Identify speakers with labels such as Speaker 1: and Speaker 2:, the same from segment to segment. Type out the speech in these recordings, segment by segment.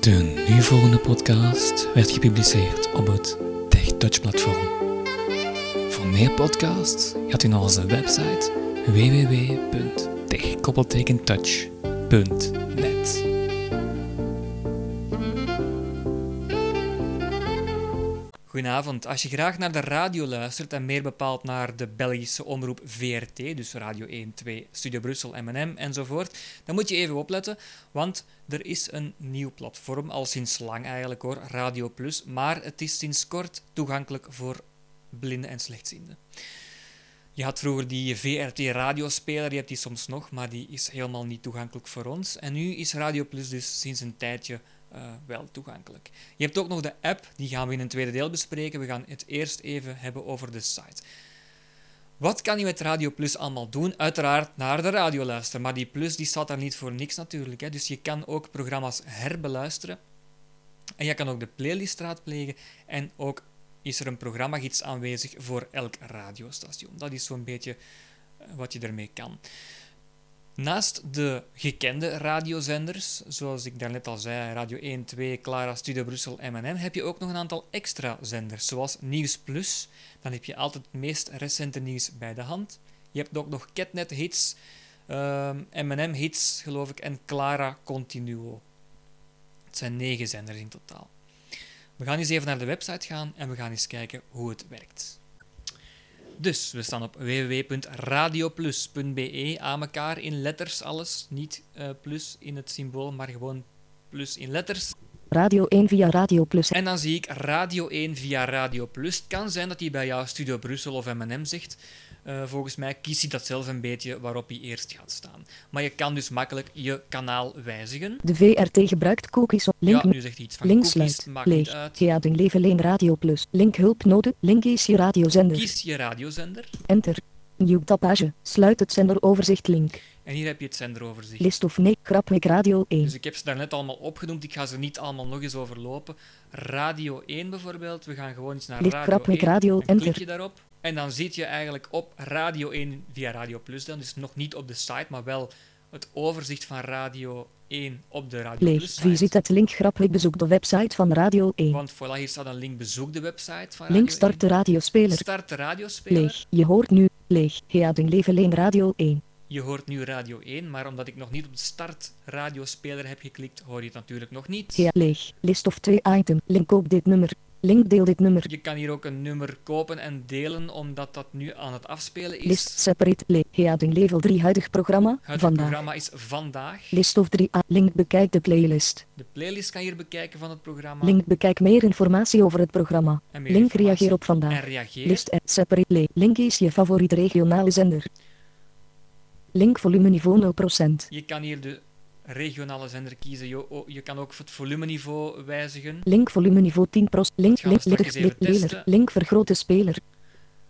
Speaker 1: De nu volgende podcast werd gepubliceerd op het TechTouch-platform. Voor meer podcasts gaat u naar onze website www.techkoppeltekentouch.net. Goedenavond. Als je graag naar de radio luistert en meer bepaald naar de Belgische omroep VRT, dus Radio 1, 2, Studio Brussel, M&M enzovoort, dan moet je even opletten, want er is een nieuw platform, al sinds lang eigenlijk hoor, Radio Plus, maar het is sinds kort toegankelijk voor blinden en slechtzienden. Je had vroeger die VRT-radiospeler, je hebt die soms nog, maar die is helemaal niet toegankelijk voor ons. En nu is Radio Plus dus sinds een tijdje eh, wel toegankelijk. Je hebt ook nog de app, die gaan we in een tweede deel bespreken. We gaan het eerst even hebben over de site. Wat kan je met Radio Plus allemaal doen? Uiteraard naar de radio luisteren, maar die Plus die staat daar niet voor niks natuurlijk. Hè. Dus je kan ook programma's herbeluisteren. En je kan ook de playlist raadplegen en ook is er een programmagids aanwezig voor elk radiostation. Dat is zo'n beetje eh, wat je ermee kan. Naast de gekende radiozenders, zoals ik daarnet al zei, Radio 1, 2, Clara, Studio Brussel, M&M, heb je ook nog een aantal extra zenders, zoals Nieuws Plus. Dan heb je altijd het meest recente nieuws bij de hand. Je hebt ook nog Catnet Hits, ehm, M&M Hits, geloof ik, en Clara Continuo. Het zijn negen zenders in totaal. We gaan eens even naar de website gaan en we gaan eens kijken hoe het werkt. Dus we staan op www.radioplus.be aan elkaar in letters alles. Niet eh, plus in het symbool, maar gewoon plus in letters.
Speaker 2: Radio 1 via Radio Plus.
Speaker 1: En dan zie ik Radio 1 via Radio Plus. Het kan zijn dat hij bij jou Studio Brussel of M&M zegt. Eh, volgens mij kiest hij dat zelf een beetje waarop hij eerst gaat staan. Maar je kan dus makkelijk je kanaal wijzigen.
Speaker 2: De VRT gebruikt cookies op link.
Speaker 1: ja, nu zegt hij iets van
Speaker 2: Linksluit.
Speaker 1: cookies, maakt niet
Speaker 2: Leeg.
Speaker 1: uit.
Speaker 2: Gea den Leveleen Radio Plus. Link hulp nodig. Link is je radiozender.
Speaker 1: Kies je radiozender.
Speaker 2: Enter. Nieuw tapage. Sluit het zenderoverzicht link.
Speaker 1: En hier heb je het zenderoverzicht.
Speaker 2: List of nee. Grappig Radio 1.
Speaker 1: Dus ik heb ze daarnet allemaal opgenoemd. Ik ga ze niet allemaal nog eens overlopen. Radio 1 bijvoorbeeld. We gaan gewoon eens naar
Speaker 2: Licht krap
Speaker 1: Radio
Speaker 2: met
Speaker 1: 1.
Speaker 2: radio,
Speaker 1: dan klik
Speaker 2: enter.
Speaker 1: je daarop. En dan zit je eigenlijk op Radio 1 via Radio Plus dan. Dus nog niet op de site, maar wel het overzicht van Radio 1 op de Radio
Speaker 2: Leeg.
Speaker 1: Plus site.
Speaker 2: Visit het link. Grappig bezoek de website van Radio 1.
Speaker 1: Want voilà, hier staat een link. Bezoek de website van Radio
Speaker 2: Link start de
Speaker 1: 1.
Speaker 2: radiospeler.
Speaker 1: Start de radiospeler.
Speaker 2: Leeg. Je hoort nu. Leeg. Gea den Leveleen Radio 1.
Speaker 1: Je hoort nu Radio 1, maar omdat ik nog niet op de start radiospeler heb geklikt, hoor je het natuurlijk nog niet.
Speaker 2: Gea leeg. List of 2 item. Link op dit nummer. Link deel dit nummer.
Speaker 1: Je kan hier ook een nummer kopen en delen, omdat dat nu aan het afspelen is.
Speaker 2: List separate leeg. Gea den level 3 huidig programma.
Speaker 1: Het
Speaker 2: Vandaag.
Speaker 1: programma is vandaag.
Speaker 2: List of 3a. Link bekijk de playlist.
Speaker 1: De playlist kan je hier bekijken van het programma.
Speaker 2: Link bekijk meer informatie over het programma.
Speaker 1: En meer
Speaker 2: Link
Speaker 1: informatie.
Speaker 2: reageer op
Speaker 1: En
Speaker 2: vandaag.
Speaker 1: reageer.
Speaker 2: List en separate le- Link is je favoriete regionale zender. Link volume niveau 0%.
Speaker 1: Je kan hier de regionale zender kiezen. Je, o- je kan ook het volumeniveau wijzigen.
Speaker 2: Link volume niveau 10%. Link
Speaker 1: Gaan we
Speaker 2: link
Speaker 1: straks
Speaker 2: link,
Speaker 1: eens even
Speaker 2: link, leler.
Speaker 1: testen.
Speaker 2: link vergrote speler.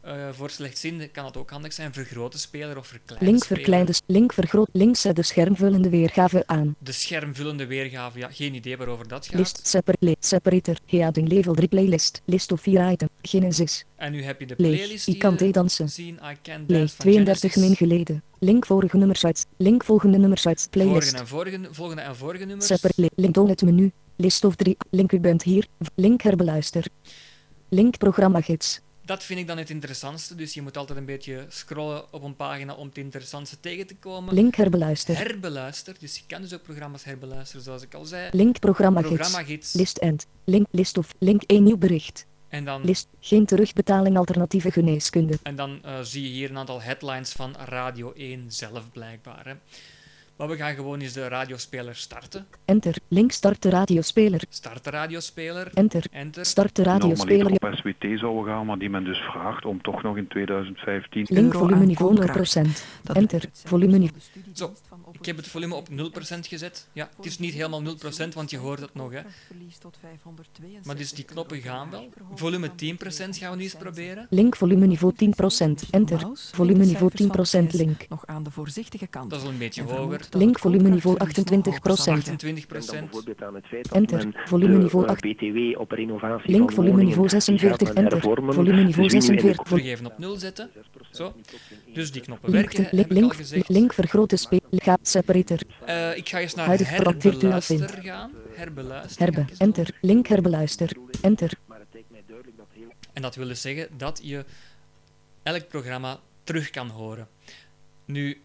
Speaker 1: Eh, voor slechtzienden kan dat ook handig zijn. Vergrote speler of verkleinen
Speaker 2: Link
Speaker 1: speler.
Speaker 2: verkleinde s- link vergroot link zet de schermvullende weergave aan.
Speaker 1: De schermvullende weergave. Ja, geen idee waarover dat gaat.
Speaker 2: List separate le- separator. Heading level 3 playlist. List of 4 item. Genesis.
Speaker 1: En nu heb je de
Speaker 2: Leeg.
Speaker 1: playlist
Speaker 2: Ik kan
Speaker 1: hier.
Speaker 2: dansen.
Speaker 1: Zien, I can dance
Speaker 2: Leeg.
Speaker 1: van
Speaker 2: 32 min
Speaker 1: Genesis.
Speaker 2: geleden. Link vorige nummers uit. Link volgende nummers uit. Playlist.
Speaker 1: Vorige en vorige, volgende en vorige nummers.
Speaker 2: Sepper li- link toon het menu. List of 3. Link u bent hier. Link herbeluister. Link programmagids.
Speaker 1: Dat vind ik dan het interessantste. Dus je moet altijd een beetje scrollen op een pagina om het interessantste tegen te komen.
Speaker 2: Link herbeluister.
Speaker 1: herbeluister. Dus je kan dus ook programma's herbeluisteren, zoals ik al zei.
Speaker 2: Link programmagids.
Speaker 1: Programmagids.
Speaker 2: List end. Link list of link 1 nieuw bericht.
Speaker 1: En dan,
Speaker 2: List geen terugbetaling alternatieve geneeskunde.
Speaker 1: en dan eh, zie je hier een aantal headlines van Radio 1 zelf, blijkbaar. Hè. Maar we gaan gewoon eens de radiospeler starten.
Speaker 2: Enter. Link start de radiospeler.
Speaker 1: Start de radiospeler.
Speaker 2: Enter.
Speaker 1: Enter.
Speaker 2: Start de
Speaker 3: normaliter
Speaker 2: radiospeler.
Speaker 3: op SWT zouden gaan, maar die men dus vraagt om toch nog in 2015
Speaker 2: Link
Speaker 4: Euro
Speaker 2: volume
Speaker 4: aan
Speaker 2: niveau
Speaker 4: koopkracht.
Speaker 2: 0%. Enter. Volume niveau.
Speaker 1: Zo, Ik heb het volume op 0% gezet. Ja, het is niet helemaal 0%, want je hoort het nog. Hè. Maar dus die knoppen gaan wel. Volume 10% gaan we nu eens proberen.
Speaker 2: Link volume niveau 10%. Enter. Volume niveau 10% link.
Speaker 4: Nog aan de voorzichtige kant.
Speaker 1: Dat is al een beetje
Speaker 4: En
Speaker 1: hoger.
Speaker 4: vermoedt dat
Speaker 2: Link
Speaker 4: het
Speaker 2: volumeniveau
Speaker 4: contractverlies nog hoger zal
Speaker 1: 28
Speaker 2: 28%.
Speaker 5: En dan
Speaker 4: worden.
Speaker 5: bijvoorbeeld aan het feit dat
Speaker 2: Enter.
Speaker 5: men
Speaker 2: Volumeniveau
Speaker 5: de, eh,
Speaker 2: 8.
Speaker 5: BTW op renovatie
Speaker 2: Link
Speaker 5: van
Speaker 2: volumeniveau
Speaker 5: woningen, die gaat
Speaker 2: 46.
Speaker 5: men
Speaker 2: Enter.
Speaker 5: hervormen.
Speaker 2: Volumeniveau
Speaker 5: Dus wie nu in de
Speaker 2: 46. vol-
Speaker 1: Teruggeven op 0 zetten.
Speaker 5: 6%
Speaker 1: Zo.
Speaker 5: niet op hun
Speaker 1: Dus
Speaker 5: eerste
Speaker 1: die knoppen
Speaker 2: Link,
Speaker 1: werken,
Speaker 2: link,
Speaker 1: heb ik al
Speaker 2: link,
Speaker 1: gezegd.
Speaker 2: link vergroten spe, ga, separator.
Speaker 1: Eh, ik ga eens naar
Speaker 2: Huidig product virtueel
Speaker 1: herbeluister gaan. Herbeluister.
Speaker 2: Herbe,
Speaker 1: ga ik eens doen.
Speaker 2: enter, link herbeluister, enter.
Speaker 5: Maar het lijkt mij duidelijk dat heel
Speaker 1: En dat wil dus zeggen dat je elk programma terug kan horen. Nu,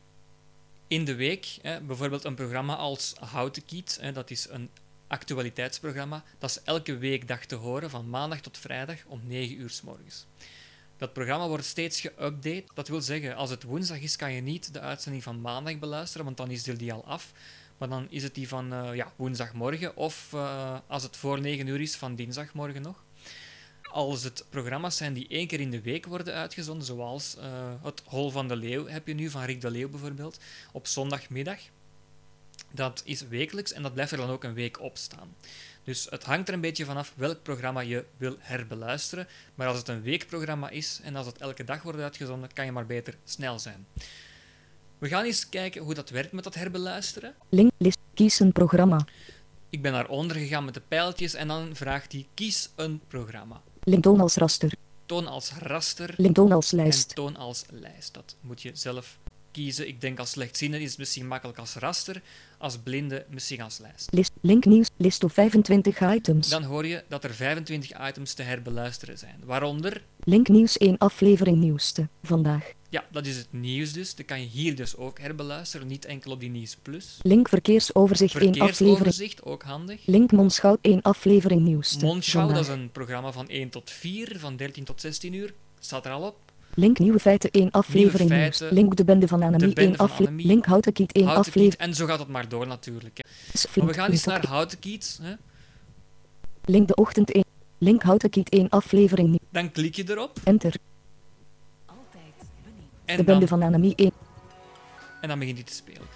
Speaker 1: in de week, hè, bijvoorbeeld een programma als Houten Kiet, hè, dat is een actualiteitsprogramma, dat is elke weekdag te horen, van maandag tot vrijdag om 9 uur s morgens. Dat programma wordt steeds geüpdate. Dat wil zeggen, als het woensdag is, kan je niet de uitzending van maandag beluisteren, want dan is die al af. Maar dan is het die van eh, ja, woensdagmorgen of eh, als het voor 9 uur is, van dinsdagmorgen nog als het programma's zijn die één keer in de week worden uitgezonden, zoals eh, het Hol van de Leeuw heb je nu, van Rick de Leeuw bijvoorbeeld, op zondagmiddag. Dat is wekelijks en dat blijft er dan ook een week op staan. Dus het hangt er een beetje vanaf welk programma je wil herbeluisteren. Maar als het een weekprogramma is en als het elke dag wordt uitgezonden, kan je maar beter snel zijn. We gaan eens kijken hoe dat werkt met dat herbeluisteren.
Speaker 2: Link, list, kies een programma.
Speaker 1: Ik ben naar onder gegaan met de pijltjes en dan vraagt hij: kies een programma.
Speaker 2: Linktoon als raster,
Speaker 1: Toon als raster.
Speaker 2: linktoon als
Speaker 1: en
Speaker 2: lijst.
Speaker 1: toon als lijst. Dat moet je zelf kiezen. Ik denk als slechtziende is het misschien makkelijk als raster, als blinde misschien als lijst.
Speaker 2: List, link nieuws, list of 25 items.
Speaker 1: Dan hoor je dat er 25 items te herbeluisteren zijn. Waaronder,
Speaker 2: Link nieuws 1 aflevering nieuwste, vandaag.
Speaker 1: ja, dat is het nieuws dus. Dat kan je hier dus ook herbeluisteren, niet enkel op die nieuws plus.
Speaker 2: Link verkeersoverzicht 1 aflevering.
Speaker 1: Verkeersoverzicht, ook handig.
Speaker 2: Link Monschouw 1 aflevering nieuwste,
Speaker 1: Monschouw, dat
Speaker 2: vandaag.
Speaker 1: is een programma van 1 tot 4, van 13 tot 16 uur. Staat er al op.
Speaker 2: Link nieuwe feiten 1 aflevering nieuws.
Speaker 1: feiten.
Speaker 2: Link de bende van
Speaker 1: De
Speaker 2: Anemie
Speaker 1: Bende
Speaker 2: 1
Speaker 1: van
Speaker 2: aflevering.
Speaker 1: Anemie.
Speaker 2: Link houten kiet 1
Speaker 1: Houten Kiet.
Speaker 2: aflevering.
Speaker 1: En zo gaat het maar door natuurlijk. hè. Maar
Speaker 2: Flink,
Speaker 1: we gaan eens
Speaker 2: Flink,
Speaker 1: naar Houten Kiet. Hè.
Speaker 2: Link de ochtend 1. Link houten kiet 1 aflevering nieuws.
Speaker 1: Dan klik je erop.
Speaker 2: Enter.
Speaker 1: En
Speaker 2: De
Speaker 1: dan
Speaker 2: bende van Anemie 1.
Speaker 1: En dan begint hij te spelen.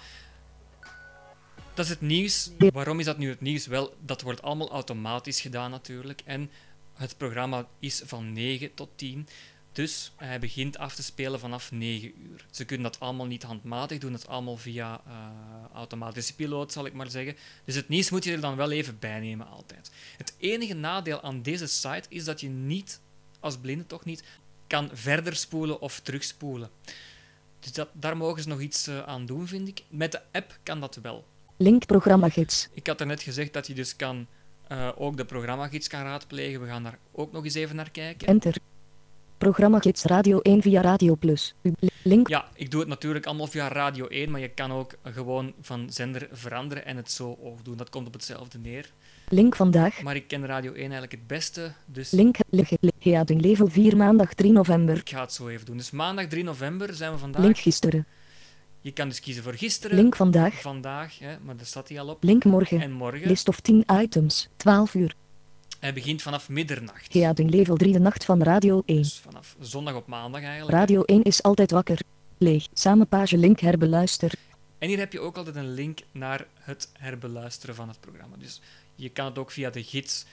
Speaker 1: Dat is het nieuws. Waarom is dat nu het nieuws? Wel, dat wordt allemaal automatisch gedaan natuurlijk. En het programma is van 9 tot 10. Dus hij begint af te spelen vanaf 9 uur. Ze kunnen dat allemaal niet handmatig doen, dat allemaal via eh, automatische piloot, zal ik maar zeggen. Dus het nieuws moet je er dan wel even bij nemen altijd. Het enige nadeel aan deze site is dat je niet, als blinde toch niet, kan verder spoelen of terugspoelen. Dus dat, daar mogen ze nog iets eh, aan doen, vind ik. Met de app kan dat wel.
Speaker 2: Link programmagids.
Speaker 1: Ik had er net gezegd dat je dus kan, eh, ook de programmagids kan raadplegen. We gaan daar ook nog eens even naar kijken.
Speaker 2: Enter. Programmagids Radio 1 via Radio Plus. U- Link
Speaker 1: Ja, ik doe het natuurlijk allemaal via Radio 1, maar je kan ook gewoon van zender veranderen en het zo ook doen. Dat komt op hetzelfde neer.
Speaker 2: Link vandaag.
Speaker 1: Maar ik ken Radio 1 eigenlijk het beste, dus
Speaker 2: Link liggen. Heading level 4 maandag 3 november.
Speaker 1: ik ga het zo even doen. Dus maandag 3 november zijn we vandaag.
Speaker 2: Link gisteren.
Speaker 1: Je kan dus kiezen voor gisteren,
Speaker 2: Link vandaag.
Speaker 1: vandaag, hè, maar daar staat hij al op,
Speaker 2: Link morgen.
Speaker 1: en morgen.
Speaker 2: List of 10 items. 12 uur.
Speaker 1: Hij begint vanaf middernacht.
Speaker 2: Heading level 3 de nacht van Radio 1.
Speaker 1: Dus vanaf zondag op maandag eigenlijk.
Speaker 2: Radio 1 is altijd wakker. Leeg. Samen page link herbeluister.
Speaker 1: En hier heb je ook altijd een link naar het herbeluisteren van het programma. Dus je kan het ook via de gids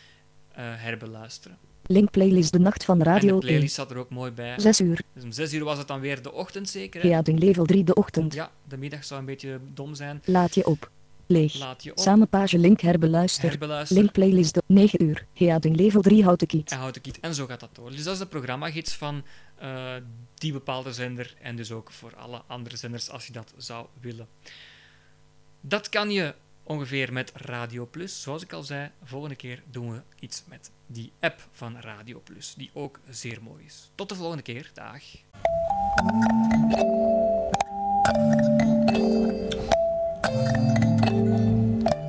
Speaker 1: eh, herbeluisteren.
Speaker 2: Link playlist de nacht van
Speaker 1: en
Speaker 2: Radio
Speaker 1: de
Speaker 2: 1.
Speaker 1: playlist zat er ook mooi bij.
Speaker 2: 6 uur.
Speaker 1: Dus om 6 uur was het dan weer de ochtend zeker. Hè?
Speaker 2: Heading level 3 de ochtend.
Speaker 1: Ja, de middag zou een beetje dom zijn.
Speaker 2: Laat je op. Leeg.
Speaker 1: Laat je op,
Speaker 2: Samen page link herbeluister.
Speaker 1: herbeluisteren
Speaker 2: Link playlist de 9 uur. Heading level 3 houten kiet.
Speaker 1: en houd de kiet. En zo gaat dat door. Dus dat is de programmagids van eh, die bepaalde zender. En dus ook voor alle andere zenders als je dat zou willen. Dat kan je ongeveer met Radio Plus. Zoals ik al zei, volgende keer doen we iets met die app van Radio Plus, die ook zeer mooi is. Tot de volgende keer. Dag.